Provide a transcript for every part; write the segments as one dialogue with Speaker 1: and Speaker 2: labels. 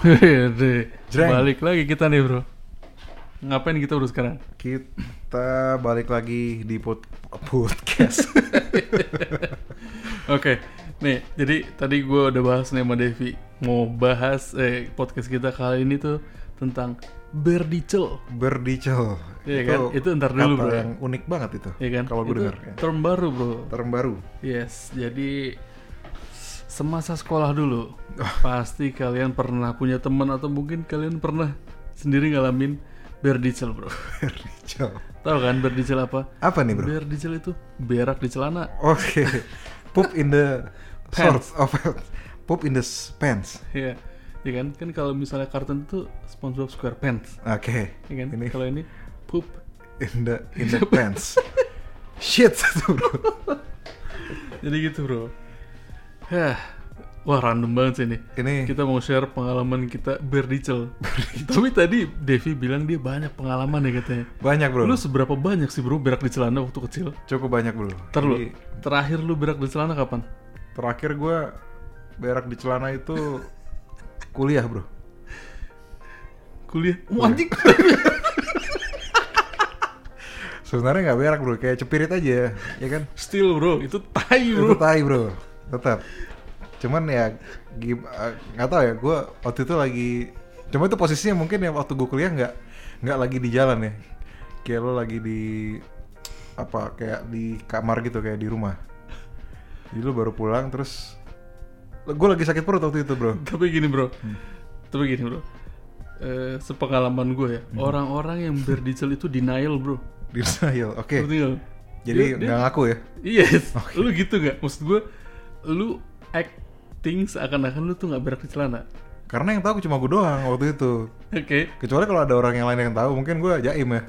Speaker 1: Jreng.
Speaker 2: Balik lagi kita nih bro. Ngapain kita bro sekarang?
Speaker 1: Kita balik lagi di pod- podcast.
Speaker 2: Oke, nih jadi tadi gua udah bahas nih sama Devi mau bahas eh, podcast kita kali ini tuh tentang berdicel,
Speaker 1: Berdicel.
Speaker 2: Iya kan? Itu ntar dulu,
Speaker 1: kata
Speaker 2: bro.
Speaker 1: yang unik banget itu.
Speaker 2: ya kan?
Speaker 1: Kalau gue
Speaker 2: Itu
Speaker 1: dengar. ya.
Speaker 2: term baru bro.
Speaker 1: Term baru.
Speaker 2: Yes, jadi semasa sekolah dulu pasti kalian pernah punya teman atau mungkin kalian pernah sendiri ngalamin berdicel bro.
Speaker 1: Berdicel.
Speaker 2: Tahu kan berdicel apa?
Speaker 1: Apa nih, Bro?
Speaker 2: Berdicel itu berak di celana.
Speaker 1: Oke. Poop in the
Speaker 2: Pants.
Speaker 1: shorts of Poop in the s- pants.
Speaker 2: Iya, ya kan? Kan kalau misalnya kartun itu SpongeBob SquarePants,
Speaker 1: Oke.
Speaker 2: ya kan?
Speaker 1: Ini
Speaker 2: Kalau ini poop.
Speaker 1: in the in the pants. Shit itu, Bro.
Speaker 2: Jadi gitu, Bro. Hah. Wah, random banget sih ini.
Speaker 1: Ini
Speaker 2: Kita mau share pengalaman kita berdicel. Tapi tadi Devi bilang dia banyak pengalaman ya katanya.
Speaker 1: banyak, Bro.
Speaker 2: Lu seberapa banyak sih, Bro, berak di celana waktu kecil?
Speaker 1: Cukup banyak, Bro.
Speaker 2: Ntar lu,
Speaker 1: Jadi,
Speaker 2: terakhir lu berak di celana kapan?
Speaker 1: terakhir gue berak di celana itu kuliah, Bro.
Speaker 2: Kuliah. Oh, anjing.
Speaker 1: Sebenarnya nggak berak, Bro. Kayak cepirit aja, ya kan?
Speaker 2: Still, Bro. Itu tai,
Speaker 1: itu
Speaker 2: Bro.
Speaker 1: tai bro tetap cuman ya gim- eh, nggak tahu ya gue waktu itu lagi cuma itu posisinya mungkin ya waktu gue kuliah nggak nggak lagi di jalan ya kayak lo lagi di apa kayak di kamar gitu kayak di rumah jadi lo baru pulang terus gue lagi sakit perut waktu itu bro
Speaker 2: tapi gini bro tapi gini bro Eh, sepengalaman gue ya orang-orang yang berdicel itu denial bro
Speaker 1: di Israel oke
Speaker 2: Ngerti nggak lu?
Speaker 1: jadi
Speaker 2: Dia- dia-
Speaker 1: nggak ngaku ya
Speaker 2: yes lu gitu nggak maksud gue lu acting seakan-akan lu tuh nggak berak di celana
Speaker 1: karena yang tahu cuma gue doang waktu itu
Speaker 2: oke
Speaker 1: kecuali kalau ada orang yang lain yang tahu mungkin gue jaim ya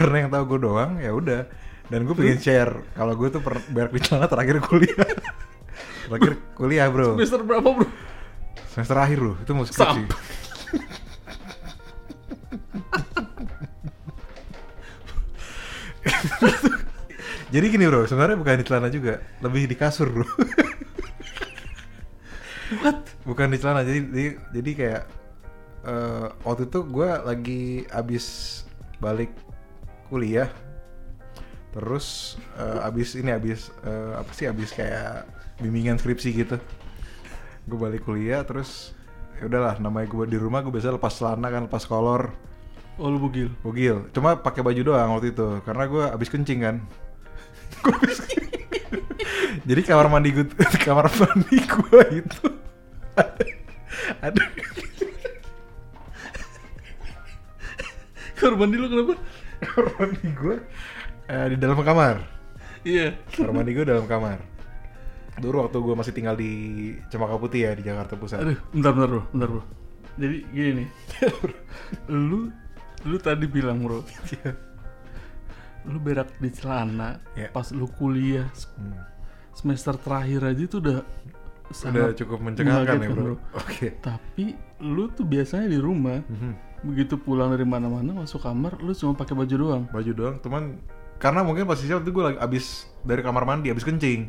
Speaker 1: karena yang tahu gue doang ya udah dan gue pengen share kalau gue tuh per- berak di celana terakhir kuliah terakhir kuliah bro
Speaker 2: semester berapa bro
Speaker 1: semester akhir loh itu mau skripsi
Speaker 2: Sam.
Speaker 1: jadi gini bro sebenarnya bukan di celana juga lebih di kasur bro
Speaker 2: what
Speaker 1: bukan di celana jadi jadi, jadi kayak eh, waktu itu gue lagi abis balik kuliah terus eh, abis ini abis eh, apa sih abis kayak bimbingan skripsi gitu gue balik kuliah terus ya udahlah namanya gue di rumah gue biasa lepas celana kan lepas kolor
Speaker 2: oh lu bugil
Speaker 1: bugil cuma pakai baju doang waktu itu karena gue abis kencing kan Gua abis jadi kamar mandi gue kamar mandi gue itu ada, ada
Speaker 2: kamar mandi lu kenapa
Speaker 1: kamar mandi gue di dalam kamar
Speaker 2: iya
Speaker 1: kamar mandi gue dalam kamar dulu waktu gue masih tinggal di Cempaka Putih ya di Jakarta Pusat
Speaker 2: aduh bentar bentar bro bentar bro jadi gini nih lu lu tadi bilang bro lu berak di celana
Speaker 1: Iya.
Speaker 2: pas lu kuliah
Speaker 1: Hmm.
Speaker 2: semester terakhir aja tuh udah
Speaker 1: udah
Speaker 2: sangat
Speaker 1: cukup mencengangkan ya
Speaker 2: mengagetkan,
Speaker 1: bro
Speaker 2: bro.
Speaker 1: oke
Speaker 2: tapi lu tuh biasanya di rumah
Speaker 1: Mhm.
Speaker 2: begitu pulang dari mana-mana masuk kamar lu cuma pakai baju doang
Speaker 1: baju doang cuman karena mungkin posisinya waktu itu gue lagi abis dari kamar mandi abis kencing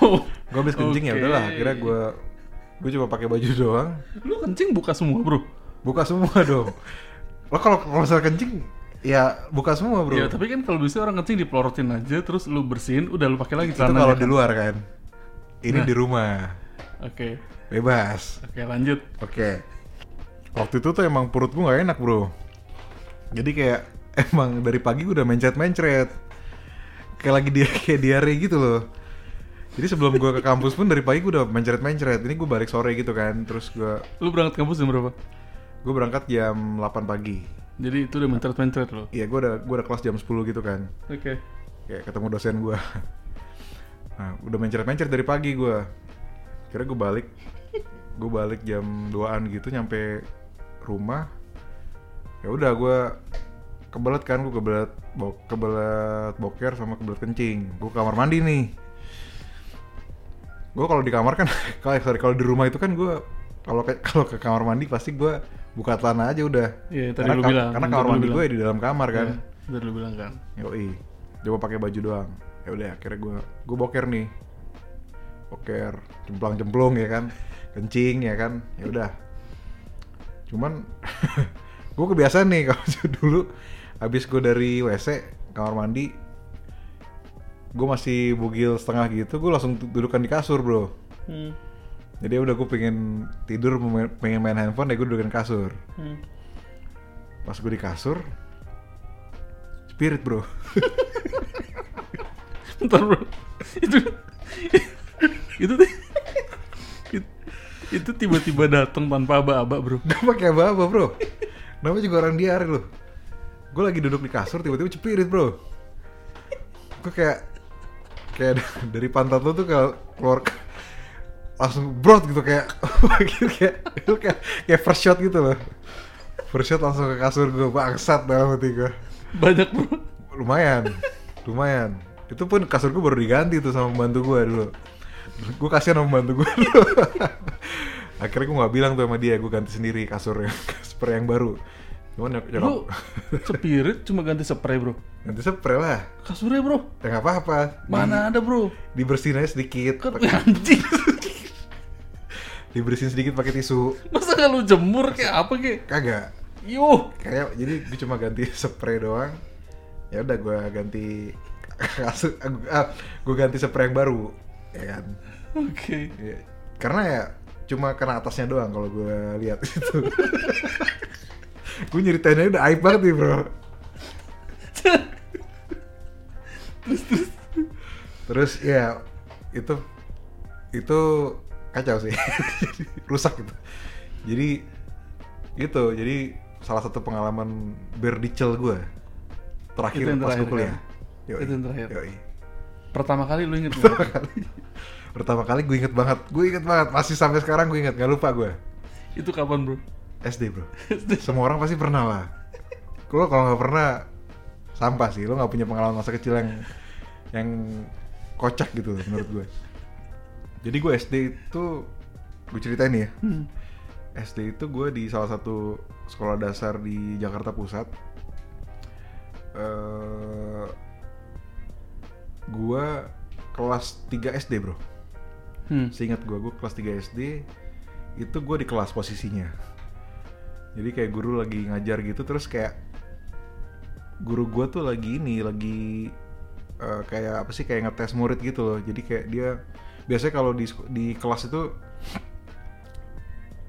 Speaker 1: gue habis kencing ya
Speaker 2: Oke.
Speaker 1: udahlah akhirnya gue gue coba pakai baju doang
Speaker 2: lu kencing buka semua bro
Speaker 1: buka semua dong lo kalau kalau misalnya kencing ya buka semua bro
Speaker 2: ya tapi kan kalau bisa orang kencing diplorotin aja terus lu bersihin udah lu pakai lagi
Speaker 1: itu kalau
Speaker 2: celananya
Speaker 1: di
Speaker 2: kan?
Speaker 1: luar kan ini
Speaker 2: Nah.
Speaker 1: di rumah
Speaker 2: oke
Speaker 1: bebas
Speaker 2: oke lanjut
Speaker 1: oke waktu itu tuh emang perut gue nggak enak bro jadi kayak emang dari pagi gue udah mencret mencret kayak lagi dia kayak diare gitu loh jadi sebelum gue ke kampus pun dari pagi gue udah mencret mencret ini gue balik sore gitu kan terus gue
Speaker 2: lu berangkat kampus jam berapa
Speaker 1: gue berangkat jam 8 pagi
Speaker 2: jadi itu udah mencret-mencret lo oke
Speaker 1: Iya, gue udah gue udah kelas jam 10 gitu kan. Kayak ketemu dosen gue. Nah, udah mencret-mencret dari pagi gue. Kira gue balik, gue balik jam 2an gitu nyampe rumah. Ya udah gue kebelet kan, gue kebelet bo- kebelet boker sama kebelet kencing. Gue kamar mandi nih. Gue kalau di kamar kan, kalau sorry, kalau di rumah itu kan gue kalau ke kalau ke kamar mandi pasti gue buka tanah aja udah.
Speaker 2: Iya, tadi
Speaker 1: karena,
Speaker 2: lu
Speaker 1: kam-
Speaker 2: bilang,
Speaker 1: karena
Speaker 2: tadi
Speaker 1: kamar
Speaker 2: lu
Speaker 1: mandi
Speaker 2: bilang.
Speaker 1: gue di dalam kamar kan.
Speaker 2: Ya, udah lu bilang kan
Speaker 1: Yoi, coba pakai baju doang. Ya udah akhirnya gue gue boker nih. poker jemplang-jemplung ya kan kencing ya kan ya udah cuman gue kebiasaan nih kalau dulu abis gue dari WC kamar mandi gue masih bugil setengah gitu gue langsung dudukan di kasur bro
Speaker 3: Hmm.
Speaker 1: jadi udah gue pengen tidur pemain- pengen main handphone ya gue dudukan kasur
Speaker 3: Hmm.
Speaker 1: pas gue di kasur spirit bro
Speaker 2: Bentar bro. Itu itu ti- it- itu tiba-tiba datang tanpa aba-aba bro.
Speaker 1: gak pakai apa-apa bro namanya juga orang diare loh gue lagi duduk di kasur tiba-tiba spirit bro gue kayak kayak d- dari pantat lo tuh kalau keluar langsung brot gitu kayak gitu kayak itu kayak kayak first shot gitu loh first shot langsung ke kasur gue bangsat dalam hati gue
Speaker 2: Banyak bro.
Speaker 1: lumayan lumayan itu pun kasur gue baru diganti tuh sama pembantu gue dulu gue kasihan sama pembantu gue dulu akhirnya gue nggak bilang tuh sama dia gue ganti sendiri kasurnya spray yang baru cuman ya, nyok- nyokap
Speaker 2: Lu spirit cuma ganti spray bro.
Speaker 1: ganti spray lah
Speaker 2: Kasurnya bro.
Speaker 1: ya nggak apa-apa
Speaker 2: Mana ada bro?
Speaker 1: dibersihin aja sedikit
Speaker 2: Kan
Speaker 1: pakai-
Speaker 2: anjing.
Speaker 1: dibersihin sedikit pakai tisu
Speaker 2: Masa kalau jemur kayak apa kayak?
Speaker 1: kagak
Speaker 2: Yuh.
Speaker 1: kayak jadi gue cuma ganti spray doang ya udah gue ganti kasur ah, gue ganti spray yang baru ya kan
Speaker 2: Oke.
Speaker 1: Iya. Karena ya cuma karena atasnya doang kalau gue lihat itu. gue nyeritainnya udah aib banget nih bro. Terus ya itu itu kacau sih, Jadi, rusak gitu. Jadi gitu, jadi salah satu pengalaman berdicel gue terakhir,
Speaker 2: Itu yang
Speaker 1: pas gue
Speaker 2: terakhir,
Speaker 1: kuliah.
Speaker 2: ya?
Speaker 1: Yoi,
Speaker 2: Itu yang terakhir.
Speaker 1: yoi.
Speaker 2: Pertama kali lu inget
Speaker 1: pertama
Speaker 2: nggak?
Speaker 1: kali pertama kali gue inget banget gue inget banget masih sampai sekarang gue inget gak lupa gue
Speaker 2: itu kapan bro?
Speaker 1: SD bro semua orang pasti pernah lah lo kalau nggak pernah sampah sih lo nggak punya pengalaman masa kecil yang yang kocak gitu loh, menurut gue jadi gue SD itu gue ceritain nih ya
Speaker 2: Hmm.
Speaker 1: SD itu gue di salah satu sekolah dasar di Jakarta Pusat. eh gue kelas 3 SD bro.
Speaker 2: Hmm.
Speaker 1: Seingat gue, gue kelas 3 SD itu gue di kelas posisinya. Jadi kayak guru lagi ngajar gitu terus kayak guru gue tuh lagi ini lagi eh, kayak apa sih kayak ngetes murid gitu loh. Jadi kayak dia biasanya kalau di sek- di kelas itu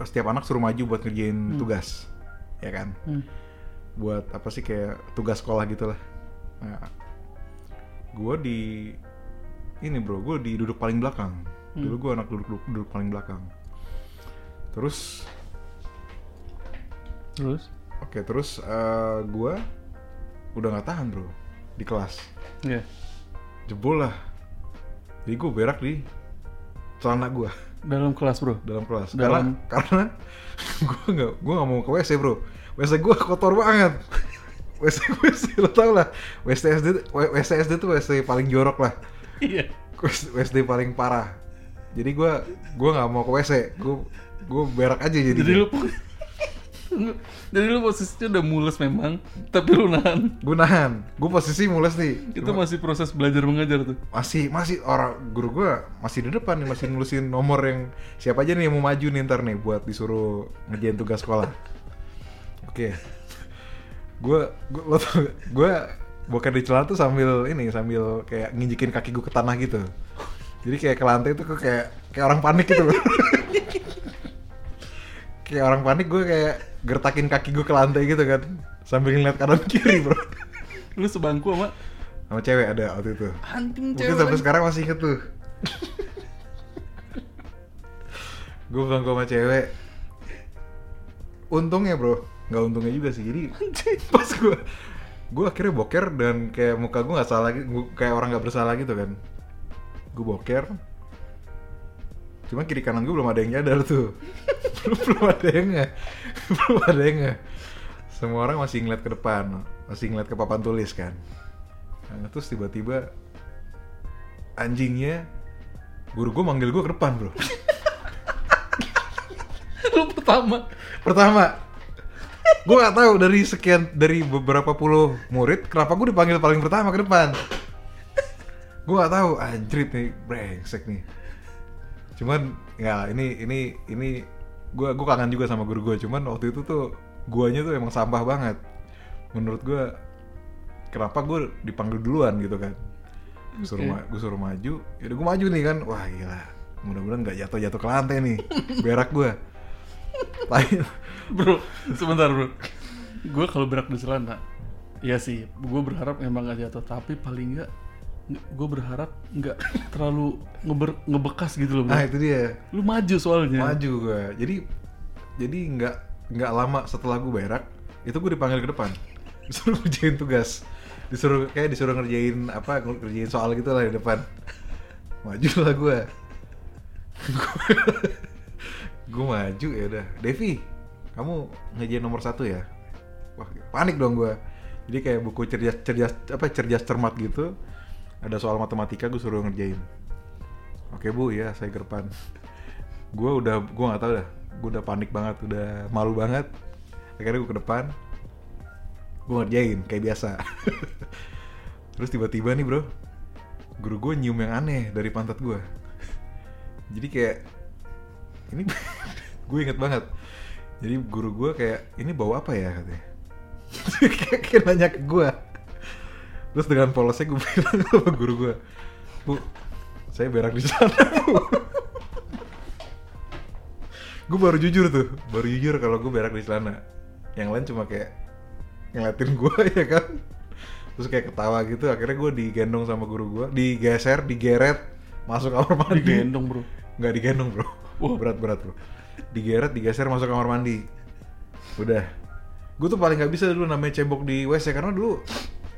Speaker 1: setiap anak suruh maju buat ngerjain tugas, ya kan?
Speaker 2: Hmm.
Speaker 1: buat apa sih kayak tugas sekolah gitu lah. Nah, gue di ini bro, gue di duduk paling belakang. Dulu gue anak duduk, duduk duduk paling belakang. Terus,
Speaker 2: Terus?
Speaker 1: oke terus eh, gue udah nggak tahan bro di kelas,
Speaker 2: Ya.
Speaker 1: jebol lah. Jadi gue berak di celana gue
Speaker 2: Dalam kelas bro.
Speaker 1: dalam kelas.
Speaker 2: Dalam-
Speaker 1: Karena karena gue nggak gue nggak mau ke WC bro. WC gue kotor banget. WC WC lo tau lah. WC SD WC SD tuh WC paling jorok lah.
Speaker 2: Iya.
Speaker 1: WC paling parah. Jadi gue gue nggak mau ke WC. Gue gue berak aja jadi.
Speaker 2: Jadi lu Jadi lu posisinya udah mules memang, tapi lu nahan.
Speaker 1: Gue nahan. Gue posisi mules nih.
Speaker 2: Itu
Speaker 1: Cuma-
Speaker 2: masih proses belajar mengajar tuh.
Speaker 1: masih masih orang guru gue masih di depan nih masih nulisin nomor yang siapa aja nih yang mau maju nih ntar nih buat disuruh ngerjain tugas sekolah oke gue gue lo tau gue bukan di celana tuh sambil ini sambil kayak nginjekin kaki gue ke tanah gitu jadi kayak ke lantai tuh gue kayak kayak orang panik gitu loh kayak orang panik gue kayak gertakin kaki gue ke lantai gitu kan sambil ngeliat kanan kiri bro
Speaker 2: Lu sebangku sama
Speaker 1: sama cewek ada waktu itu
Speaker 2: anjing
Speaker 1: Mungkin
Speaker 2: cewek.
Speaker 1: sampai
Speaker 2: lagi.
Speaker 1: sekarang masih inget tuh. gue bilang gue sama cewek. Untungnya bro, nggak untungnya juga sih. Jadi pas gue, gue akhirnya boker dan kayak muka gue nggak salah, gitu, gua- kayak orang nggak bersalah gitu kan. Gue boker. Cuma kiri kanan gue belum ada yang nyadar tuh. belum belum ada yang nge- belum ada yang nge. Semua orang masih ngeliat ke depan, masih ngeliat ke papan tulis kan. Nah, terus tiba-tiba anjingnya guru gue manggil gue ke depan bro
Speaker 2: Lu pertama.
Speaker 1: pertama gue nggak tahu dari sekian dari beberapa puluh murid kenapa gue dipanggil paling pertama ke depan gue nggak tahu anjrit nih brengsek nih cuman ya ini ini ini gue gue kangen juga sama guru gue cuman waktu itu tuh guanya tuh emang sampah banget menurut gue kenapa gue dipanggil duluan gitu kan gue
Speaker 2: Oke.
Speaker 1: suruh, ma- gua suruh maju ya gue maju nih kan wah gila mudah-mudahan nggak jatuh-jatuh ke lantai nih berak gue lain
Speaker 2: bro sebentar bro gue kalau berak di celana ya sih gue berharap emang gak jatuh tapi paling nggak gue berharap nggak terlalu ngeber- ngebekas gitu loh bro
Speaker 1: nah itu dia
Speaker 2: lu maju soalnya
Speaker 1: maju gue jadi jadi nggak nggak lama setelah gue berak itu gue dipanggil ke depan disuruh ngerjain tugas disuruh kayak disuruh ngerjain apa ngerjain soal gitu lah di depan maju lah gue gue maju ya udah Devi kamu ngerjain nomor satu ya wah panik dong gue jadi kayak buku cerdas cerdas apa cerdas cermat gitu ada soal matematika gue suruh ngerjain Oke bu, ya saya ke depan. Gue udah, gue nggak tahu dah. Gue udah panik banget, udah malu banget. Akhirnya gue ke depan, gue ngerjain kayak biasa. Terus tiba-tiba nih bro, guru gue nyium yang aneh dari pantat gue. Jadi kayak ini gue inget banget. Jadi guru gue kayak ini bau apa ya katanya. Kayak- kayak nanya ke gue. Terus dengan polosnya gue bilang sama guru gue, Bu, saya berak di sana, Bu. gue baru jujur tuh, baru jujur kalau gue berak di celana. Yang lain cuma kayak ngeliatin gue ya kan. Terus kayak ketawa gitu, akhirnya gue digendong sama guru gue, digeser, digeret, masuk kamar mandi.
Speaker 2: digendong bro
Speaker 1: Nggak digendong bro,
Speaker 2: Wah.
Speaker 1: berat-berat bro. Digeret, digeser, masuk kamar mandi. Udah. Gue tuh paling nggak bisa dulu namanya cebok di WC, karena dulu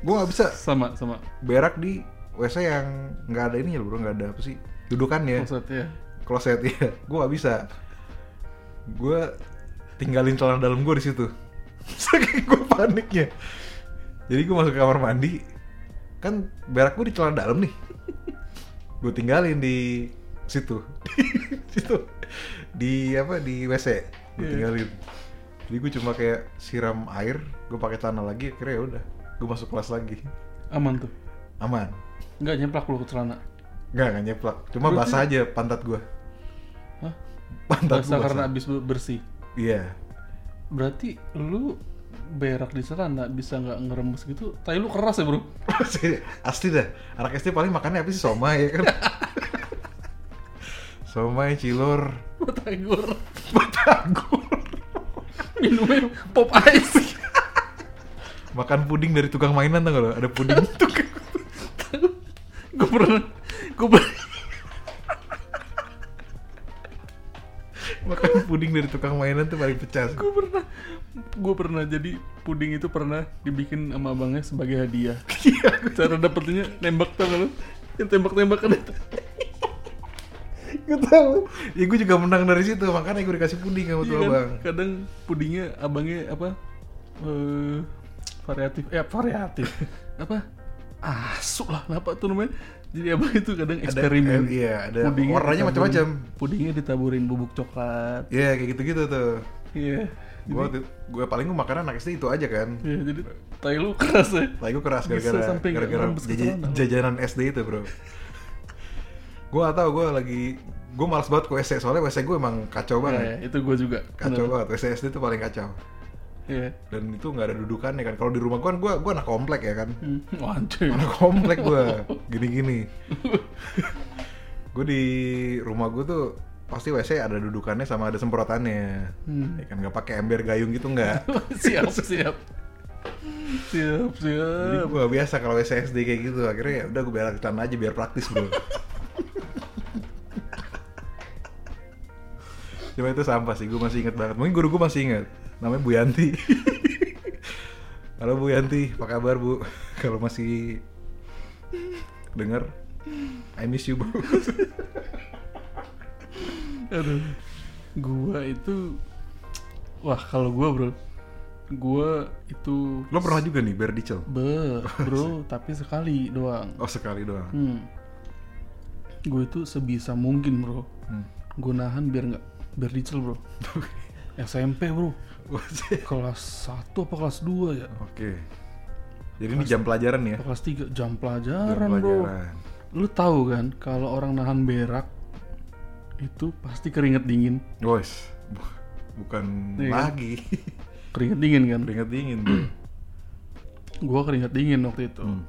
Speaker 1: gue nggak bisa
Speaker 2: sama sama
Speaker 1: berak di WC yang nggak ada ininya loh bro nggak ada apa sih dudukannya
Speaker 2: Maksud ya
Speaker 1: kloset ya gue nggak bisa gue tinggalin celana dalam gue di situ saking gue paniknya jadi gue masuk ke kamar mandi kan berak gue di celana dalam nih gue tinggalin di situ di situ di apa di wc gue
Speaker 2: Iya.
Speaker 1: tinggalin jadi gue cuma kayak siram air gue pakai celana lagi akhirnya ya udah gue masuk kelas lagi
Speaker 2: aman tuh
Speaker 1: aman
Speaker 2: nggak nyemplak lu ke celana
Speaker 1: Enggak, enggak nyeplak. Cuma
Speaker 2: Berarti-
Speaker 1: basah aja pantat gua.
Speaker 2: Hah?
Speaker 1: Pantat
Speaker 2: basah
Speaker 1: gua
Speaker 2: karena abis bersih
Speaker 1: Iya.
Speaker 2: berarti lu berak di celana bisa nggak ngeremes gitu tai lu keras ya bro
Speaker 1: Asli- Asli dah. Anak SD paling makannya apa sih somai ya kan? somai, cilor,
Speaker 2: batagor
Speaker 1: batagor.
Speaker 2: minumnya pop ice
Speaker 1: Makan puding dari tukang mainan tau gak lo? Ada puding tukang.
Speaker 2: gue pernah gue pernah
Speaker 1: Makan puding dari tukang mainan tuh paling pecah.
Speaker 2: gue pernah gue pernah jadi puding itu pernah dibikin sama abangnya sebagai hadiah cara dapetinnya nembak tau nggak lu yang tembak-tembakan itu
Speaker 1: Gue tau. Ya gue juga menang dari situ, makanya gue dikasih puding sama
Speaker 2: Iya
Speaker 1: tuh
Speaker 2: kan?
Speaker 1: abang.
Speaker 2: Kadang pudingnya abangnya apa? eh variatif. Eh variatif. apa? Asu lah. Kenapa tuh namanya? Jadi abang itu kadang eksperimen.
Speaker 1: eh, iya, ada warnanya
Speaker 2: ditaburin-
Speaker 1: macam-macam.
Speaker 2: Pudingnya ditaburin bubuk coklat.
Speaker 1: Iya, kayak gitu-gitu tuh.
Speaker 2: Iya.
Speaker 1: Gue gue paling gue makan anak SD itu aja kan.
Speaker 2: Iya, jadi tai lu keras ya.
Speaker 1: Lah gue keras
Speaker 2: Bisa
Speaker 1: gara-gara
Speaker 2: sampai nggak
Speaker 1: gara-gara
Speaker 2: merembes ke
Speaker 1: jaja-
Speaker 2: celana lu.
Speaker 1: jajanan SD itu bro. gue gak tau gue lagi gue malas banget ke WC soalnya WC gue emang
Speaker 2: Iya,
Speaker 1: kacau banget.
Speaker 2: iya, itu gue juga. Bener.
Speaker 1: Kacau banget WC SD itu paling kacau.
Speaker 2: Iya.
Speaker 1: Dan itu nggak ada dudukannya kan. Kalau di rumah gue kan gue gue anak komplek ya kan.
Speaker 2: Hmm. Wah, anjir.
Speaker 1: Anak komplek gue gini-gini. gue di rumah gue tuh pasti WC ada dudukannya sama ada semprotannya.
Speaker 2: Hmm.
Speaker 1: Ya kan nggak pakai ember gayung gitu nggak.
Speaker 2: siap, siap. Siap,
Speaker 1: Jadi
Speaker 2: siap.
Speaker 1: gue gak biasa kalau WCSD kayak gitu Akhirnya ya udah gue berak di tanah aja biar praktis bro Cuma itu sampah sih, gue masih inget banget Mungkin guru gue masih inget Namanya Bu Yanti Halo Bu Yanti, apa kabar Bu? Kalau masih denger I miss you Bu
Speaker 2: Aduh. Gua itu wah kalau gua, Bro. Gua itu
Speaker 1: Lo pernah juga nih biar dicel?
Speaker 2: be, Bro, tapi sekali doang.
Speaker 1: Oh sekali doang
Speaker 2: Hmm. Gue itu sebisa mungkin, Bro.
Speaker 1: hmm.
Speaker 2: Gue nahan biar nggak biar dicel, Bro. SMP, Bro.
Speaker 1: Oke
Speaker 2: Kelas 1 apa kelas 2 ya?
Speaker 1: Jadi ini jam pelajaran ya?
Speaker 2: Apa kelas 3 Iya. jam
Speaker 1: Jam
Speaker 2: pelajaran, Bro.
Speaker 1: pelajaran
Speaker 2: Lu tahu kan kalau orang nahan berak itu pasti keringet dingin
Speaker 1: Guys, bu- bukan
Speaker 2: Iya.
Speaker 1: lagi.
Speaker 2: keringet dingin kan
Speaker 1: Keringat dingin tuh.
Speaker 2: gua keringet dingin waktu itu
Speaker 1: Hmm.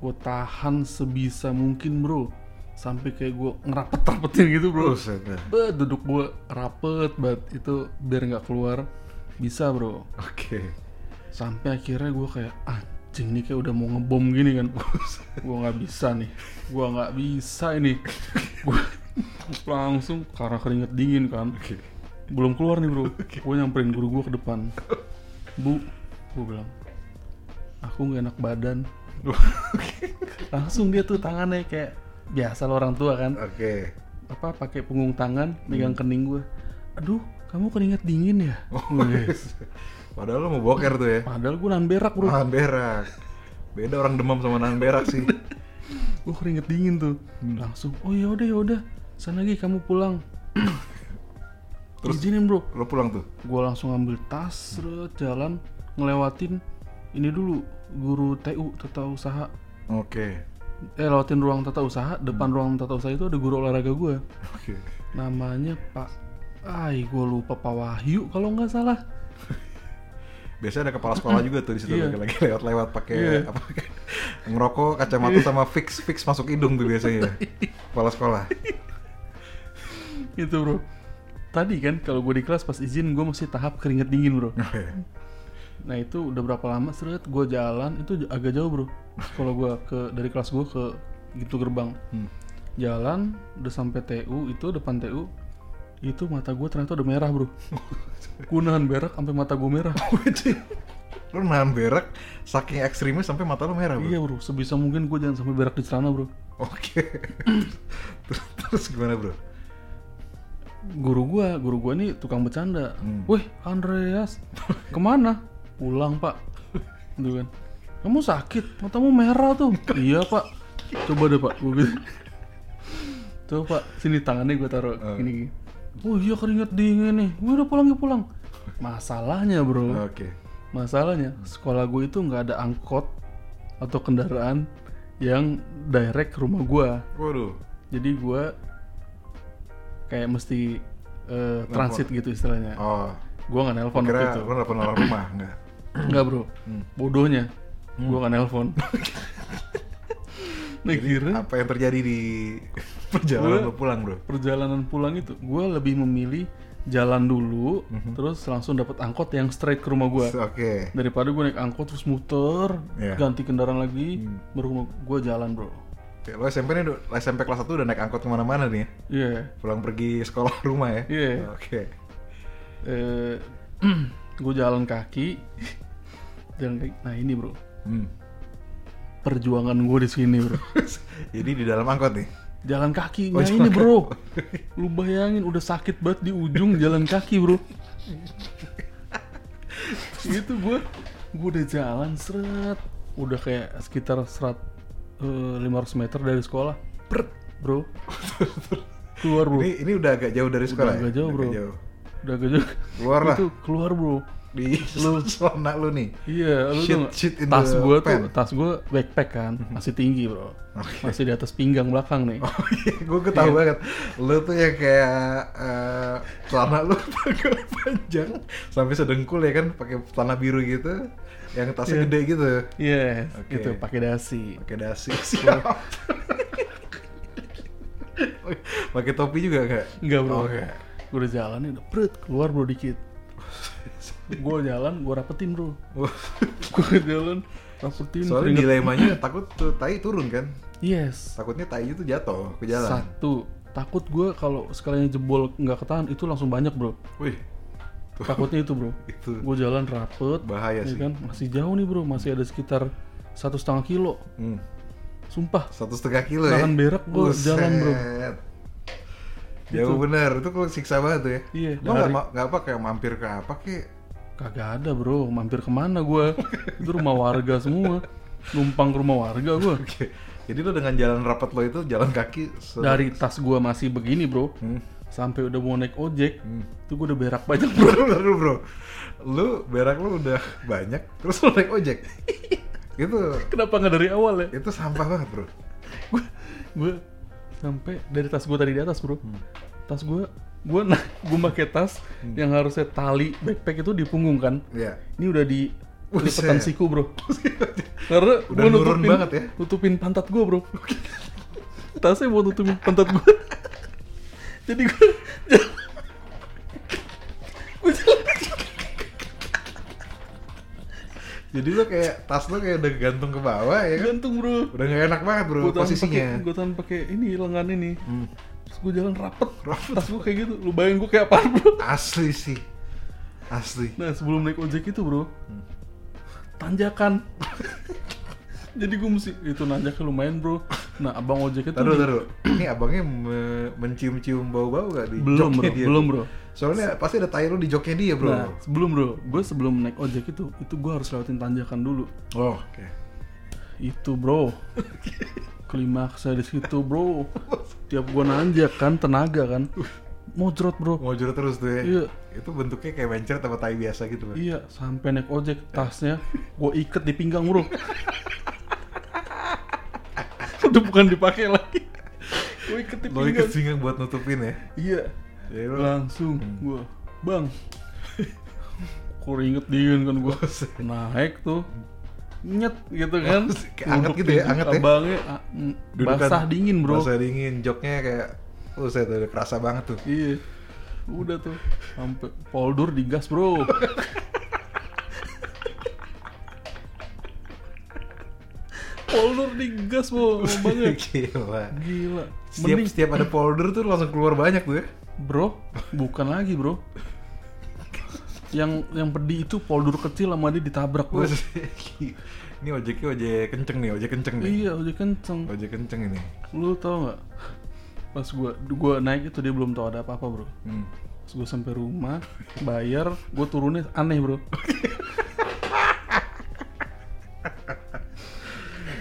Speaker 2: gua tahan sebisa mungkin bro sampai kayak gua ngerapet rapetin gitu bro
Speaker 1: Buset dah.
Speaker 2: Bet, duduk gua rapet banget itu biar nggak keluar bisa bro
Speaker 1: Oke.
Speaker 2: sampai akhirnya gua kayak anjing nih kayak udah mau ngebom gini kan gua nggak bisa nih gua nggak bisa ini gua langsung karena keringet dingin kan
Speaker 1: Oke.
Speaker 2: belum keluar nih bro gue nyamperin guru gue ke depan bu gue bilang aku nggak enak badan langsung dia tuh tangannya kayak biasa lo orang tua kan
Speaker 1: Oke.
Speaker 2: apa pakai punggung tangan megang kening gue aduh kamu keringat dingin ya Wes.
Speaker 1: Oh, Padahal lo mau boker tuh ya.
Speaker 2: padahal gue nahan berak bro
Speaker 1: Nahan berak. Beda orang demam sama nahan berak sih.
Speaker 2: gue keringet dingin tuh langsung oh ya udah ya udah sana lagi kamu pulang
Speaker 1: Terus-
Speaker 2: izinin bro
Speaker 1: Lo pulang tuh.
Speaker 2: gue langsung ambil tas terus jalan ngelewatin ini dulu guru TU tata usaha
Speaker 1: Oke.
Speaker 2: eh lewatin ruang tata usaha depan ruang tata usaha itu ada guru olahraga gue
Speaker 1: Oke.
Speaker 2: namanya Pak Ay gue lupa Pak Wahyu kalau nggak salah
Speaker 1: Biasanya ada kepala-kepala juga tuh di situ
Speaker 2: Iya.
Speaker 1: lagi lewat-lewat pakai
Speaker 2: Iya.
Speaker 1: apa? Ngerokok, kacamata sama fix fix masuk hidung tuh biasanya. Kepala sekolah.
Speaker 2: itu Gitu, bro tadi kan kalau gue di kelas pas izin gue masih tahap keringet dingin bro
Speaker 1: Oke.
Speaker 2: nah itu udah berapa lama seret gue jalan itu j- agak jauh bro kalau gue ke dari kelas gue ke gitu gerbang
Speaker 1: Hmm.
Speaker 2: jalan udah sampai TU itu depan TU itu mata gue ternyata udah merah bro gue nahan berak sampai mata gue merah
Speaker 1: Lo nahan berak saking ekstrimnya sampai mata lo merah, Bro.
Speaker 2: iya bro sebisa mungkin gue jangan sampai berak di celana bro
Speaker 1: Oke. terus, terus gimana, Bro?
Speaker 2: guru gua guru gua nih tukang bercanda
Speaker 1: Hmm.
Speaker 2: weh Andreas kemana pulang pak gitu kan kamu sakit matamu merah tuh iya pak coba deh pak gua gitu coba pak sini tangannya gua taruh
Speaker 1: Eh.
Speaker 2: gini gini oh iya keringat dingin nih Wih, udah pulang ya pulang masalahnya bro
Speaker 1: Oke.
Speaker 2: masalahnya sekolah gua itu nggak ada angkot atau kendaraan yang direct ke rumah gua
Speaker 1: Waduh.
Speaker 2: jadi gue kayak mesti eh, transit gitu istilahnya
Speaker 1: Oh,
Speaker 2: gue nggak nelpon waktu
Speaker 1: kira
Speaker 2: itu
Speaker 1: lo nelfon orang rumah enggak?
Speaker 2: nggak bro
Speaker 1: Hmm.
Speaker 2: bodohnya gue nggak nelpon nah kira
Speaker 1: Apa yang terjadi di perjalanan
Speaker 2: Gua-
Speaker 1: lo pulang, Bro?
Speaker 2: perjalanan pulang itu gue lebih memilih jalan dulu
Speaker 1: Mhm.
Speaker 2: terus langsung dapat angkot yang straight ke rumah gue
Speaker 1: So, Oke.
Speaker 2: daripada gue naik angkot terus muter
Speaker 1: Iya. Hmm.
Speaker 2: ganti kendaraan lagi baru gue jalan bro
Speaker 1: Oke, Lo SMP nih, du- SMP kelas 1 udah naik angkot kemana-mana nih ya?
Speaker 2: iya
Speaker 1: Pulang pergi sekolah rumah ya?
Speaker 2: Iya.
Speaker 1: Oke.
Speaker 2: eh, gue jalan kaki jalan kaki nah ini bro
Speaker 1: Hmm.
Speaker 2: perjuangan gue di sini bro
Speaker 1: Jadi di dalam angkot nih?
Speaker 2: jalan kaki
Speaker 1: Oh,
Speaker 2: nah
Speaker 1: jalan
Speaker 2: ini bro lu bayangin udah sakit banget di ujung jalan kaki bro itu gue gue udah jalan seret udah kayak sekitar serat eh, 500 meter dari sekolah Pret, bro keluar bro
Speaker 1: Ini, ini udah agak jauh dari sekolah ya?
Speaker 2: agak jauh,
Speaker 1: Udah
Speaker 2: Bro. udah gede
Speaker 1: Keluar lah.
Speaker 2: itu keluar bro
Speaker 1: Di celana lu nih.
Speaker 2: Iya, lu
Speaker 1: Shit,
Speaker 2: tuh
Speaker 1: shit in
Speaker 2: tas
Speaker 1: the
Speaker 2: gua tuh,
Speaker 1: pan.
Speaker 2: tas gua backpack kan, masih tinggi bro,
Speaker 1: Oke.
Speaker 2: masih di atas pinggang belakang nih.
Speaker 1: Oh iya, gue ketahui banget. Lu tuh yang kayak eh, celana lu panjang, panjang sampai sedengkul ya kan, pakai celana biru gitu, yang tasnya gede gitu.
Speaker 2: Iya,
Speaker 1: Oke.
Speaker 2: gitu pakai dasi.
Speaker 1: Pakai dasi. Siap. pakai topi juga nggak?
Speaker 2: Enggak bro,
Speaker 1: Oke.
Speaker 2: gua udah jalan nih, udah prit, keluar bro dikit. gua jalan, gua rapetin bro,
Speaker 1: Wah,
Speaker 2: gua jalan, rapetin.
Speaker 1: Soalnya
Speaker 2: keringet.
Speaker 1: dilemanya takut tuh tai turun kan.
Speaker 2: Yes.
Speaker 1: Takutnya tai itu jatuh ke jalan.
Speaker 2: Satu, takut gua kalau sekalinya jebol nggak ketahan itu langsung banyak bro.
Speaker 1: Wih,
Speaker 2: Takutnya itu bro.
Speaker 1: itu
Speaker 2: Gua jalan rapet,
Speaker 1: bahaya
Speaker 2: ya
Speaker 1: sih.
Speaker 2: kan masih jauh nih bro, masih ada sekitar satu setengah kilo.
Speaker 1: Hmm,
Speaker 2: Sumpah,
Speaker 1: satu setengah kilo ya.
Speaker 2: Tahan berak gua jalan, bro.
Speaker 1: Buset. Jauh bener, itu kok siksa banget tuh ya.
Speaker 2: Iya,
Speaker 1: Lo nggak
Speaker 2: dari-
Speaker 1: ma- nggak apa kayak mampir ke apa kek?
Speaker 2: Kagak ada bro, mampir kemana gua Itu rumah warga semua Numpang ke rumah warga gua
Speaker 1: Oke. Jadi lo dengan jalan rapat lo itu jalan kaki se-
Speaker 2: Dari tas gua masih begini bro
Speaker 1: Hmm.
Speaker 2: Sampai udah mau naik ojek
Speaker 1: Hmm.
Speaker 2: Itu gua udah berak banyak bro
Speaker 1: Bro, bentar dulu, bro. Lu berak lu udah banyak, terus lo naik ojek. itu
Speaker 2: Kenapa nggak dari awal ya
Speaker 1: itu sampah banget, bro. Hmm.
Speaker 2: Gua Sampai dari tas gua tadi di atas bro tas gue gue nah gue pakai tas
Speaker 1: Hmm.
Speaker 2: yang harusnya tali backpack itu di punggung kan
Speaker 1: Iya.
Speaker 2: ini udah di lipetan
Speaker 1: Buset.
Speaker 2: siku bro karena
Speaker 1: Udah
Speaker 2: gua
Speaker 1: nurun banget ya.
Speaker 2: nutupin pantat gue bro tasnya mau nutupin pantat gue jadi gue gue
Speaker 1: Jadi lo kayak tas lo kayak udah gantung ke bawah ya kan?
Speaker 2: gantung bro
Speaker 1: Udah gak enak banget bro
Speaker 2: gue tahan pakai
Speaker 1: posisinya.
Speaker 2: gue tahan pakai ini lengan ini
Speaker 1: Hmm.
Speaker 2: terus gue jalan rapet
Speaker 1: Rapet.
Speaker 2: tas gue kayak gitu lu bayangin gue kayak apa bro
Speaker 1: Asli sih. Asli.
Speaker 2: Nah sebelum naik ojek itu bro
Speaker 1: Hmm.
Speaker 2: Tanjakan Jadi gue mesti Itu nanjaknya lumayan bro Nah abang ojeknya tuh
Speaker 1: Taruh,
Speaker 2: di-
Speaker 1: taruh. Ini abangnya me- mencium-cium bau-bau gak di
Speaker 2: Belum
Speaker 1: joknya
Speaker 2: bro
Speaker 1: dia?
Speaker 2: Belum bro
Speaker 1: Soalnya pasti ada tai lu di joknya dia bro.
Speaker 2: Nah sebelum bro Gue sebelum naik ojek itu Itu gue harus lewatin tanjakan dulu
Speaker 1: Oh, oke.
Speaker 2: Itu bro Klimaksnya di situ bro Tiap gue nanjak kan tenaga kan Mojrot bro
Speaker 1: Ngojur terus tuh ya.
Speaker 2: Iya.
Speaker 1: Itu bentuknya kayak mencret sama tai biasa gitu bro.
Speaker 2: Iya, sampai naik ojek tasnya gue iket di pinggang bro. Udah bukan dipakai lagi. Gue iket di
Speaker 1: Lo
Speaker 2: pinggang.
Speaker 1: ikut pinggang buat nutupin ya.
Speaker 2: Iya,
Speaker 1: Jadi lo
Speaker 2: langsung
Speaker 1: Hmm.
Speaker 2: gue, bang. Keringet dingin kan gue. Naik tuh, nyet gitu kan.
Speaker 1: Kayak anget gitu
Speaker 2: Duduk di
Speaker 1: ya, anget ya.
Speaker 2: Abangnya ah, mm,
Speaker 1: dudukan-
Speaker 2: basah dingin bro.
Speaker 1: Basah dingin, joknya kayak Oh, saya udah kerasa banget tuh.
Speaker 2: Iya. Udah tuh sampai poldur digas, Bro. poldur digas, Bro. lama banget.
Speaker 1: Gila.
Speaker 2: Gila.
Speaker 1: Setiap,
Speaker 2: Oh, Mending
Speaker 1: setiap ada powder tuh langsung keluar banyak tuh ya.
Speaker 2: Bro, bukan lagi, Bro. Yang yang pedih itu poldur kecil sama dia ditabrak, Bro.
Speaker 1: Bos, ini ojeknya ojek kenceng nih, ojek kenceng nih.
Speaker 2: Iya, udah kenceng.
Speaker 1: Ojek kenceng ini.
Speaker 2: Lu tau nggak? Pas gua gua naik itu dia belum tahu ada apa-apa, Bro.
Speaker 1: Hmm.
Speaker 2: Terus gue sampai rumah, bayar, gue turunnya aneh bro.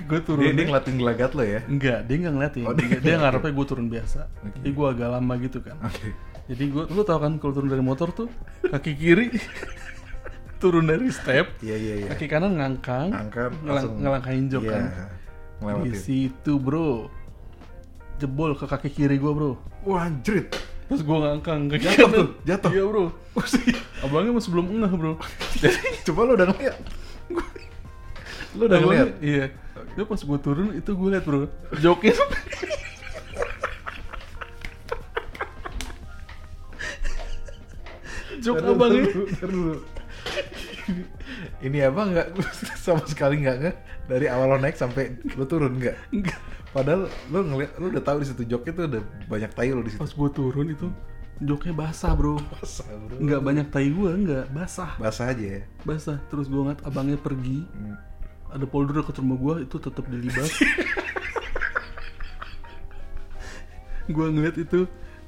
Speaker 2: gue
Speaker 1: Dia,
Speaker 2: turunnya
Speaker 1: dia ngeliatin gelagat lo ya.
Speaker 2: enggak, dia nggak ngeliatin.
Speaker 1: Oh,
Speaker 2: dia,
Speaker 1: dia
Speaker 2: dia ngarepnya gue turun biasa. Jadi gue agak lama gitu kan.
Speaker 1: Oke.
Speaker 2: Jadi gue, lu tau kan kalau turun dari motor tuh kaki kiri turun dari step,
Speaker 1: Iya iya iya.
Speaker 2: kaki kanan ngangkang,
Speaker 1: Angkat
Speaker 2: ngelang,
Speaker 1: langsung-
Speaker 2: ngelangkain jok
Speaker 1: Iya.
Speaker 2: kan. Di
Speaker 1: Ngelewatin.
Speaker 2: situ bro, jebol ke kaki kiri gue bro.
Speaker 1: Wah, anjrit.
Speaker 2: Terus gue ngangkang kaki
Speaker 1: Jatuh
Speaker 2: kanan.
Speaker 1: tuh, jatuh.
Speaker 2: Iya bro. Abangnya masih belum ngeh bro.
Speaker 1: Coba lo udah ngeliat. lo udah
Speaker 2: Abangnya-
Speaker 1: ngeliat.
Speaker 2: Iya. Dia pas gue turun itu gue liat bro. Joknya sampai- Jok
Speaker 1: Ntar dulu,
Speaker 2: abangnya.
Speaker 1: ntar dulu, ntar dulu. Ini abang nggak sama sekali nggak nggak dari awal lo naik sampai lo turun nggak?
Speaker 2: Enggak.
Speaker 1: Padahal lo ngeliat, lo udah tahu di situ joknya tuh udah banyak tai lo di situ.
Speaker 2: Pas gue turun itu joknya basah bro.
Speaker 1: Basah bro.
Speaker 2: Enggak banyak tai gue, enggak basah.
Speaker 1: Basah aja ya.
Speaker 2: Basah. Terus gue ngeliat abangnya pergi.
Speaker 1: Hmm.
Speaker 2: Ada polder dekat rumah gue itu tetap dilibas. gue ngeliat itu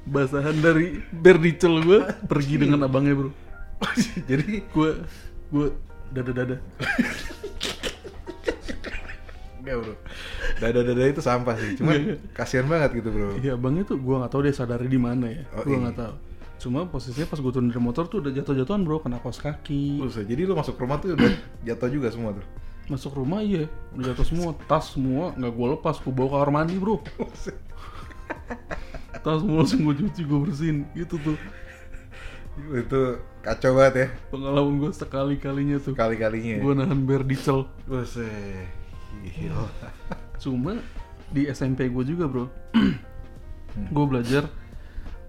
Speaker 2: basahan dari berdicel gue pergi
Speaker 1: Iya.
Speaker 2: dengan abangnya bro.
Speaker 1: Jadi
Speaker 2: Gue gue dada dada.
Speaker 1: Enggak bro Dada-dada itu sampah sih Cuman kasihan banget gitu bro
Speaker 2: Iya abangnya tuh gue nggak tahu dia sadari di mana ya.
Speaker 1: Oh,
Speaker 2: gue
Speaker 1: iya.
Speaker 2: nggak tahu. Cuma posisinya pas gue turun dari motor tuh udah jatuh-jatuhan bro kena kos kaki.
Speaker 1: Buset, Jadi lu masuk rumah tuh udah jatuh juga semua tuh
Speaker 2: Masuk rumah iya udah jatuh semua tas semua nggak gue lepas gue bawa ke kamar mandi bro.
Speaker 1: Buset.
Speaker 2: Tas semua langsung gue cuci gue bersihin gitu tuh
Speaker 1: Itu kacau banget ya
Speaker 2: pengalaman gue sekali kalinya tuh.
Speaker 1: Kali-kalinya
Speaker 2: gue nahan berdicel
Speaker 1: ya? Buset
Speaker 2: Oh.
Speaker 1: Gila
Speaker 2: cuma di SMP gue juga bro gue belajar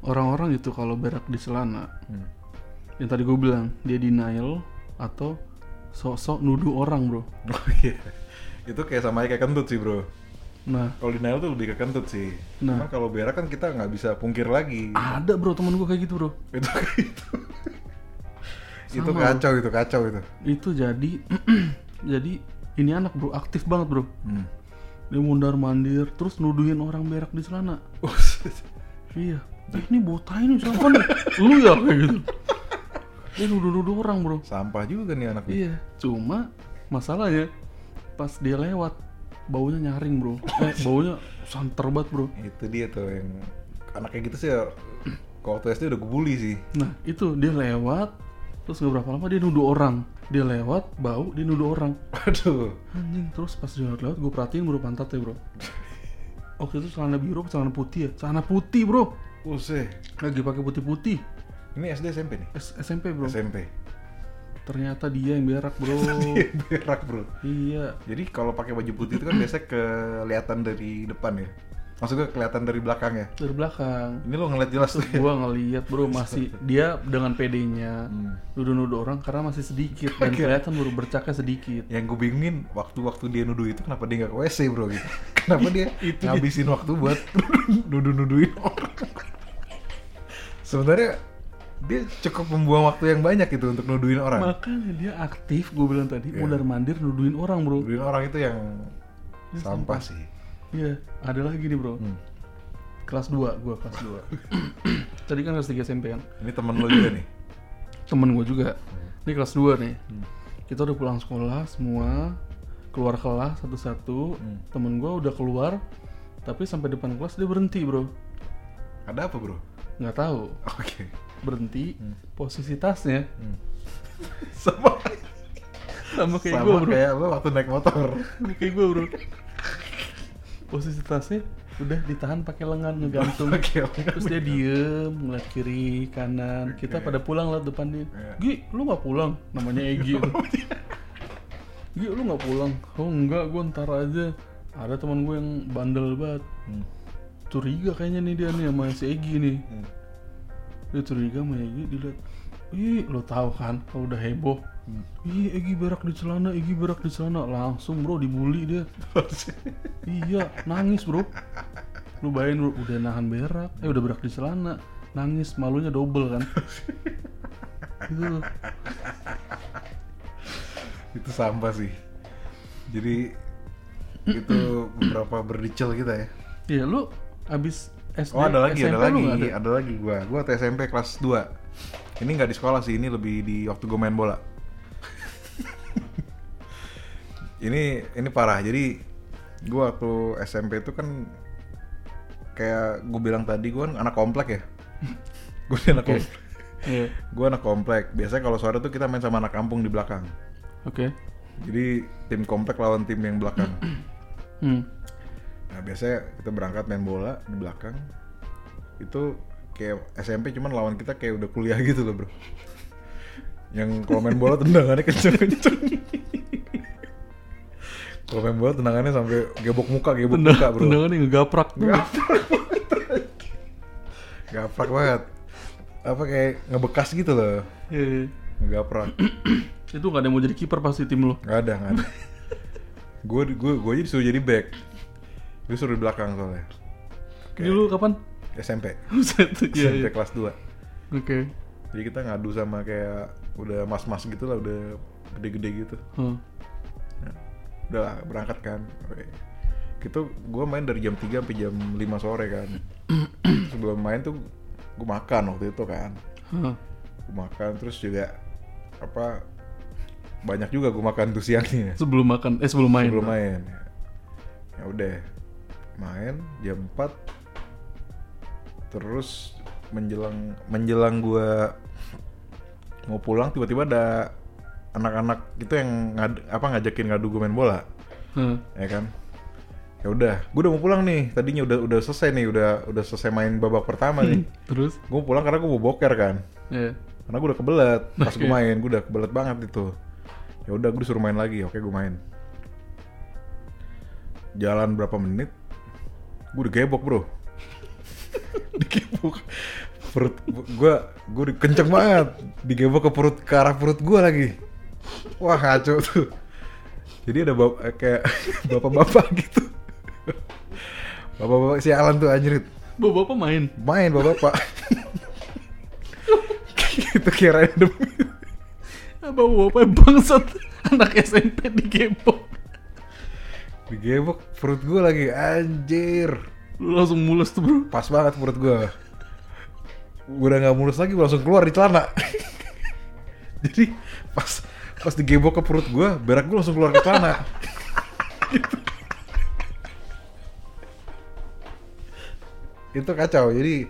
Speaker 2: orang-orang itu kalau berak di celana
Speaker 1: Hmm.
Speaker 2: yang tadi gue bilang dia denial atau sok-sok nuduh orang bro
Speaker 1: Oh iya Itu kayak sama aja kayak kentut sih bro
Speaker 2: nah
Speaker 1: Kalau denial tuh lebih ke kentut sih
Speaker 2: Nah. Ah.
Speaker 1: Cuman kalau berak kan kita nggak bisa pungkir lagi
Speaker 2: ada bro temen gue kayak gitu bro
Speaker 1: Itu itu itu
Speaker 2: Sama.
Speaker 1: kacau itu kacau itu
Speaker 2: itu jadi jadi ini anak bro aktif banget bro
Speaker 1: hmm.
Speaker 2: dia mundar mandir terus nuduhin orang berak di celana
Speaker 1: Buset.
Speaker 2: iya eh, ini botai nih siapa nih lu ya kayak gitu dia nuduh-nuduh orang bro
Speaker 1: Sampah juga nih anak nih.
Speaker 2: Iya, cuma masalahnya pas dia lewat baunya nyaring bro, eh, baunya santer banget bro.
Speaker 1: Itu dia tuh yang Anaknya gitu sih Kalau waktu SD udah gue bully sih
Speaker 2: Nah itu dia lewat, terus nggak berapa lama dia nuduh orang, dia lewat bau dia nuduh orang.
Speaker 1: Aduh,
Speaker 2: Anjing terus pas dia lewat, gue perhatiin bro pantatnya bro. Waktu itu celana biru, apa celana putih ya, celana putih bro.
Speaker 1: Useh.
Speaker 2: lagi pakai putih-putih
Speaker 1: Ini SD SMP nih?
Speaker 2: S- SMP bro
Speaker 1: SMP.
Speaker 2: ternyata dia yang berak bro
Speaker 1: Iya, berak bro.
Speaker 2: iya
Speaker 1: Jadi kalau pakai baju putih itu kan biasanya kelihatan dari depan ya. Maksudnya kelihatan dari belakang ya.
Speaker 2: dari belakang
Speaker 1: Ini lo ngeliat jelas tuh. ya?
Speaker 2: gua ngeliat bro masih dia dengan PD-nya
Speaker 1: Hmm.
Speaker 2: nuduh-nuduh orang karena masih sedikit dan
Speaker 1: Oke.
Speaker 2: kelihatan baru bercaknya sedikit
Speaker 1: Yang gue bingungin waktu-waktu dia nuduh itu kenapa dia nggak ke WC bro gitu. Kenapa dia ngabisin waktu buat nuduh-nuduhin orang. Sebenarnya dia cukup membuang waktu yang banyak itu untuk nuduhin orang.
Speaker 2: makanya dia aktif gue bilang tadi
Speaker 1: Nah. Iya.
Speaker 2: mundar mandir nuduhin orang bro
Speaker 1: Nuduhin orang itu yang sampah sih.
Speaker 2: iya ada lagi nih bro
Speaker 1: Hmm.
Speaker 2: kelas 2 gua kelas 2 tadi kan kelas 3 SMP kan
Speaker 1: Ini temen lo juga nih.
Speaker 2: temen gue juga ini kelas 2 nih
Speaker 1: Hmm.
Speaker 2: kita udah pulang sekolah semua keluar kelas satu-satu
Speaker 1: Hmm.
Speaker 2: temen gue udah keluar tapi sampai depan kelas dia berhenti bro
Speaker 1: Ada apa bro?
Speaker 2: nggak tahu
Speaker 1: Oke.
Speaker 2: berhenti
Speaker 1: Hmm.
Speaker 2: posisi tasnya
Speaker 1: Sama,
Speaker 2: sama kayak gue
Speaker 1: sama
Speaker 2: bro
Speaker 1: kayak lo waktu naik motor.
Speaker 2: Sama kayak gue bro posisi tasnya udah ditahan pakai lengan ngegantung
Speaker 1: Oke, oke.
Speaker 2: terus dia diem ngeliat kiri kanan kita
Speaker 1: Oke.
Speaker 2: pada pulang lah depan dia
Speaker 1: Iya.
Speaker 2: Gi lu nggak pulang namanya Egi
Speaker 1: Hmm.
Speaker 2: Gi lu nggak pulang oh enggak gue ntar aja ada teman gue yang bandel banget
Speaker 1: Hmm.
Speaker 2: curiga kayaknya nih dia nih sama si Egi nih
Speaker 1: Hmm.
Speaker 2: dia curiga sama Egi dilihat ih lo tahu kan kalau udah heboh
Speaker 1: Hmm.
Speaker 2: ih Egi berak di celana Egi berak di celana langsung bro dibully dia iya nangis bro lu bayangin bro, udah nahan berak eh udah berak di celana nangis malunya double kan gitu
Speaker 1: itu sampah sih. Jadi itu beberapa berdicil kita ya.
Speaker 2: ya lu abis SD
Speaker 1: Oh ada lagi,
Speaker 2: SMP
Speaker 1: ada
Speaker 2: lu
Speaker 1: lagi,
Speaker 2: nggak
Speaker 1: ada.
Speaker 2: ada?
Speaker 1: lagi gua. Gua waktu SMP kelas 2. Ini nggak di sekolah sih, ini lebih di waktu gua main bola. ini ini parah. Jadi gua waktu SMP itu kan kayak gua bilang tadi gua kan anak komplek ya. gua ini anak
Speaker 2: Oke.
Speaker 1: komplek.
Speaker 2: Iya.
Speaker 1: Gua anak komplek. Biasanya kalau sore tuh kita main sama anak kampung di belakang.
Speaker 2: oke
Speaker 1: Jadi tim komplek lawan tim yang belakang.
Speaker 2: hmm.
Speaker 1: Nah biasanya kita berangkat main bola di belakang itu kayak SMP cuman lawan kita kayak udah kuliah gitu loh bro. Yang kalau main bola tendangannya kenceng-kenceng. kalau main bola tendangannya sampai gebok muka, gebok
Speaker 2: Tendang,
Speaker 1: muka bro.
Speaker 2: tendangan yang ngegaprak tuh.
Speaker 1: Gaprak banget. Apa kayak ngebekas gitu loh.
Speaker 2: Iya, iya.
Speaker 1: Gaprak.
Speaker 2: itu nggak ada yang mau jadi kiper pasti tim lu
Speaker 1: Gak ada, gak ada. gue gue gue jadi suruh jadi back. Gue suruh di belakang soalnya.
Speaker 2: ini lu kapan
Speaker 1: SMP.
Speaker 2: Buset, iya
Speaker 1: SMP
Speaker 2: iya
Speaker 1: kelas 2.
Speaker 2: oke
Speaker 1: Jadi kita ngadu sama kayak udah mas-mas gitu lah, udah gede-gede gitu.
Speaker 2: Hmm.
Speaker 1: Nah, udah lah, berangkat kan. Oke. Gitu, gue main dari jam 3 sampai jam 5 sore kan. Sebelum main tuh gue makan waktu itu kan.
Speaker 2: Hmm.
Speaker 1: Gue makan terus juga apa banyak juga gue makan tuh siangnya
Speaker 2: sebelum makan eh sebelum main
Speaker 1: sebelum main. Ya udah main jam 4 terus menjelang menjelang gua mau pulang tiba-tiba ada anak-anak itu yang ngad- apa ngajakin ngadu gue main bola
Speaker 2: Hmm.
Speaker 1: ya kan ya udah gue udah mau pulang nih tadinya udah udah selesai nih udah udah selesai main babak pertama nih
Speaker 2: terus
Speaker 1: gue mau pulang karena gue mau boker kan
Speaker 2: ya
Speaker 1: karena gue udah kebelet pas gue
Speaker 2: Oke.
Speaker 1: main gue udah kebelet banget itu ya udah gue disuruh main lagi oke gue main jalan berapa menit gue digebok bro digebok perut gue gue kenceng banget digebok ke perut ke arah perut gue lagi wah kacau tuh jadi ada bap- eh, kayak bapak-bapak gitu bapak-bapak sialan tuh anjrit
Speaker 2: bapak main
Speaker 1: main bapak-bapak itu kirain demi
Speaker 2: Abang bapak bangsat anak SMP digepok.
Speaker 1: Digebok perut gue lagi anjir.
Speaker 2: Lu langsung mules tuh bro.
Speaker 1: Pas banget perut gue. Udah nggak mulus lagi gua langsung keluar di celana. Jadi pas pas digebok ke perut gue, berak gue langsung keluar ke celana. gitu. Itu kacau. Jadi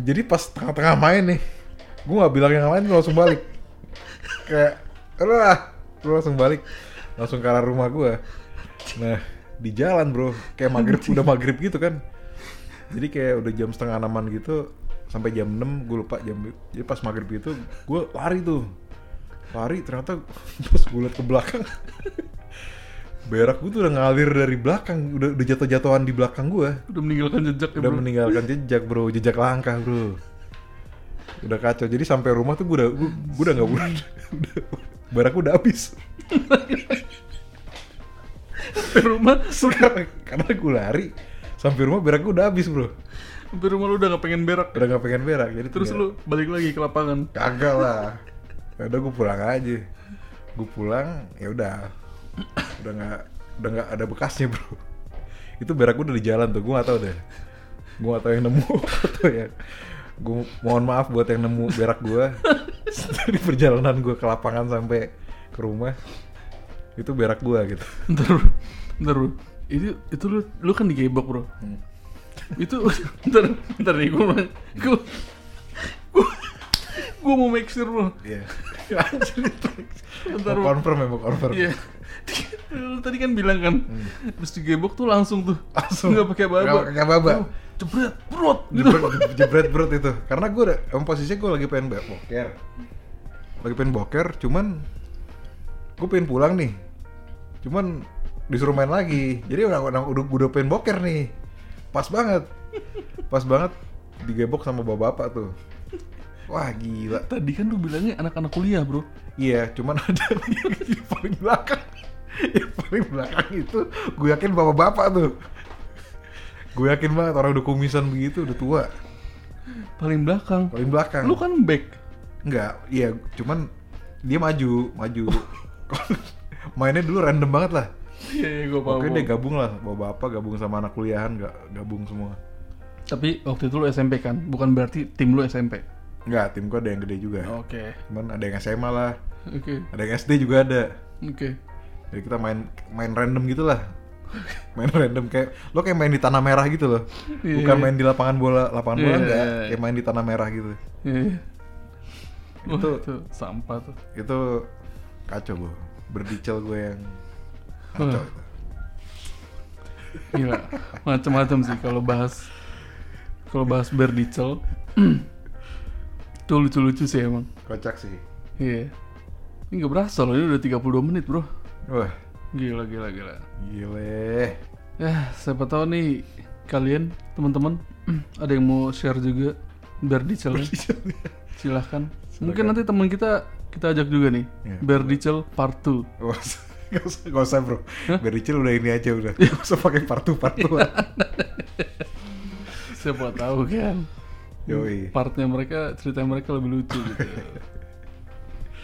Speaker 1: jadi pas tengah-tengah main nih, gue nggak bilang yang lain, gue langsung balik. Kayak, wah, gue langsung balik, langsung ke arah rumah gue. Nah, di jalan bro, kayak maghrib udah maghrib gitu kan. jadi kayak udah jam setengah enaman gitu sampai jam 6 gue lupa jam jadi pas maghrib itu gue lari tuh lari ternyata pas gue liat ke belakang berak gue tuh udah ngalir dari belakang udah udah jatuh-jatuhan di belakang gue
Speaker 2: Udah meninggalkan jejak ya
Speaker 1: udah
Speaker 2: bro.
Speaker 1: meninggalkan jejak bro jejak langkah bro udah kacau jadi sampai rumah tuh gue udah gue, gue udah nggak bulan udah barak udah habis
Speaker 2: Sampai rumah,
Speaker 1: sekarang karena gue lari sampai rumah berak gue udah habis bro
Speaker 2: sampai rumah lu udah gak pengen berak. ya.
Speaker 1: udah nggak pengen berak jadi
Speaker 2: Terus
Speaker 1: tinggal-
Speaker 2: lu balik lagi ke lapangan.
Speaker 1: kagak lah Ya udah gue pulang aja gue pulang ya udah udah nggak udah nggak ada bekasnya bro itu berak gue udah di jalan tuh gue nggak tahu deh gue nggak tahu yang nemu atau ya gue mohon maaf buat yang nemu berak gue dari perjalanan gue ke lapangan sampai ke rumah itu berak gue gitu
Speaker 2: Ntar bro, ntar bro. Itu, itu lu, lu kan digebok bro. Itu, ntar, ntar nih gue, gue, gue, gue mau make sure bro.
Speaker 1: iya
Speaker 2: Anjir, ntar
Speaker 1: mau
Speaker 2: bro.
Speaker 1: confirm ya mau confirm
Speaker 2: Iya. Lu tadi kan bilang kan, habis digebok tuh langsung tuh.
Speaker 1: Hmm. Langsung.
Speaker 2: Nggak pakai
Speaker 1: Nggak
Speaker 2: baba.
Speaker 1: pakai baba.
Speaker 2: Oh, Jebret, perut. Gitu.
Speaker 1: jebret, jebret berut itu karena gue udah emang posisinya gue lagi pengen bo- boker lagi pengen boker cuman gue pengen pulang nih cuman disuruh main lagi jadi udah udah udah, udah pengen boker nih pas banget pas banget digebok sama bapak-bapak tuh wah gila
Speaker 2: Tadi kan lu bilangnya anak-anak kuliah bro.
Speaker 1: iya cuman ada yang di paling belakang yang paling belakang itu gue yakin bapak-bapak tuh gue yakin banget orang udah kumisan begitu udah tua
Speaker 2: Paling belakang.
Speaker 1: paling belakang
Speaker 2: Lu kan back.
Speaker 1: Enggak, iya cuman dia maju, maju. Mainnya dulu random banget lah.
Speaker 2: Iya, iya gue paham.
Speaker 1: Oke
Speaker 2: paham.
Speaker 1: dia gabung lah, bawa bapak gabung sama anak kuliahan nggak gabung semua.
Speaker 2: Tapi waktu itu lu SMP kan, bukan berarti tim lu SMP.
Speaker 1: Eh. Enggak, tim gua ada yang gede juga.
Speaker 2: Oke.
Speaker 1: Cuman ada yang SMA lah,
Speaker 2: Oke.
Speaker 1: ada yang SD juga ada.
Speaker 2: Oke.
Speaker 1: Jadi kita main main random gitu lah. Main random kayak lo kayak main di tanah merah gitu loh.
Speaker 2: Iya,
Speaker 1: Bukan
Speaker 2: iya.
Speaker 1: main di lapangan bola, lapangan bola
Speaker 2: Iya,
Speaker 1: enggak,
Speaker 2: iya, iya.
Speaker 1: kayak main di tanah merah gitu.
Speaker 2: Iya. Wah,
Speaker 1: Itu-
Speaker 2: itu sampah tuh.
Speaker 1: Itu kacau gue, berdicel gue yang kacau.
Speaker 2: Wah.
Speaker 1: itu.
Speaker 2: Gila, macam-macam sih kalau bahas kalau bahas berdicel. itu lucu-lucu sih emang.
Speaker 1: Kocak sih.
Speaker 2: Iya. Ini gak berasa loh, ini udah 32 menit bro.
Speaker 1: Wah,
Speaker 2: Gila, gila, gila.
Speaker 1: Gile.
Speaker 2: Ya, siapa tahu nih kalian teman-teman ada yang mau share juga berdicelnya. Silahkan. Mungkin nanti teman kita kita ajak juga nih.
Speaker 1: Iya.
Speaker 2: Berdicel part 2.
Speaker 1: Gak usah, gak usah, gak usah bro. Bericil udah ini aja udah. Gak usah pakai partu-partuan.
Speaker 2: Siapa tahu kan.
Speaker 1: Yoi.
Speaker 2: Partnya mereka, cerita mereka lebih lucu gitu.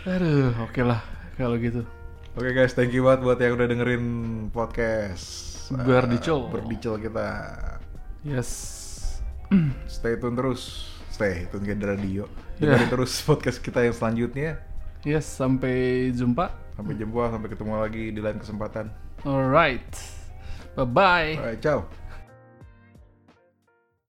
Speaker 2: Aduh, oke lah kalau gitu.
Speaker 1: Oke guys, thank you banget buat yang udah dengerin podcast. eh,
Speaker 2: Berdicil.
Speaker 1: Berdicil kita.
Speaker 2: Yes.
Speaker 1: Stay tune terus. Stay tune ke radio.
Speaker 2: Iya.
Speaker 1: Dengerin terus podcast kita yang selanjutnya.
Speaker 2: Yes, sampai jumpa.
Speaker 1: Sampai jumpa, sampai ketemu lagi di lain kesempatan.
Speaker 2: Alright. Bye-bye.
Speaker 1: Alright, ciao.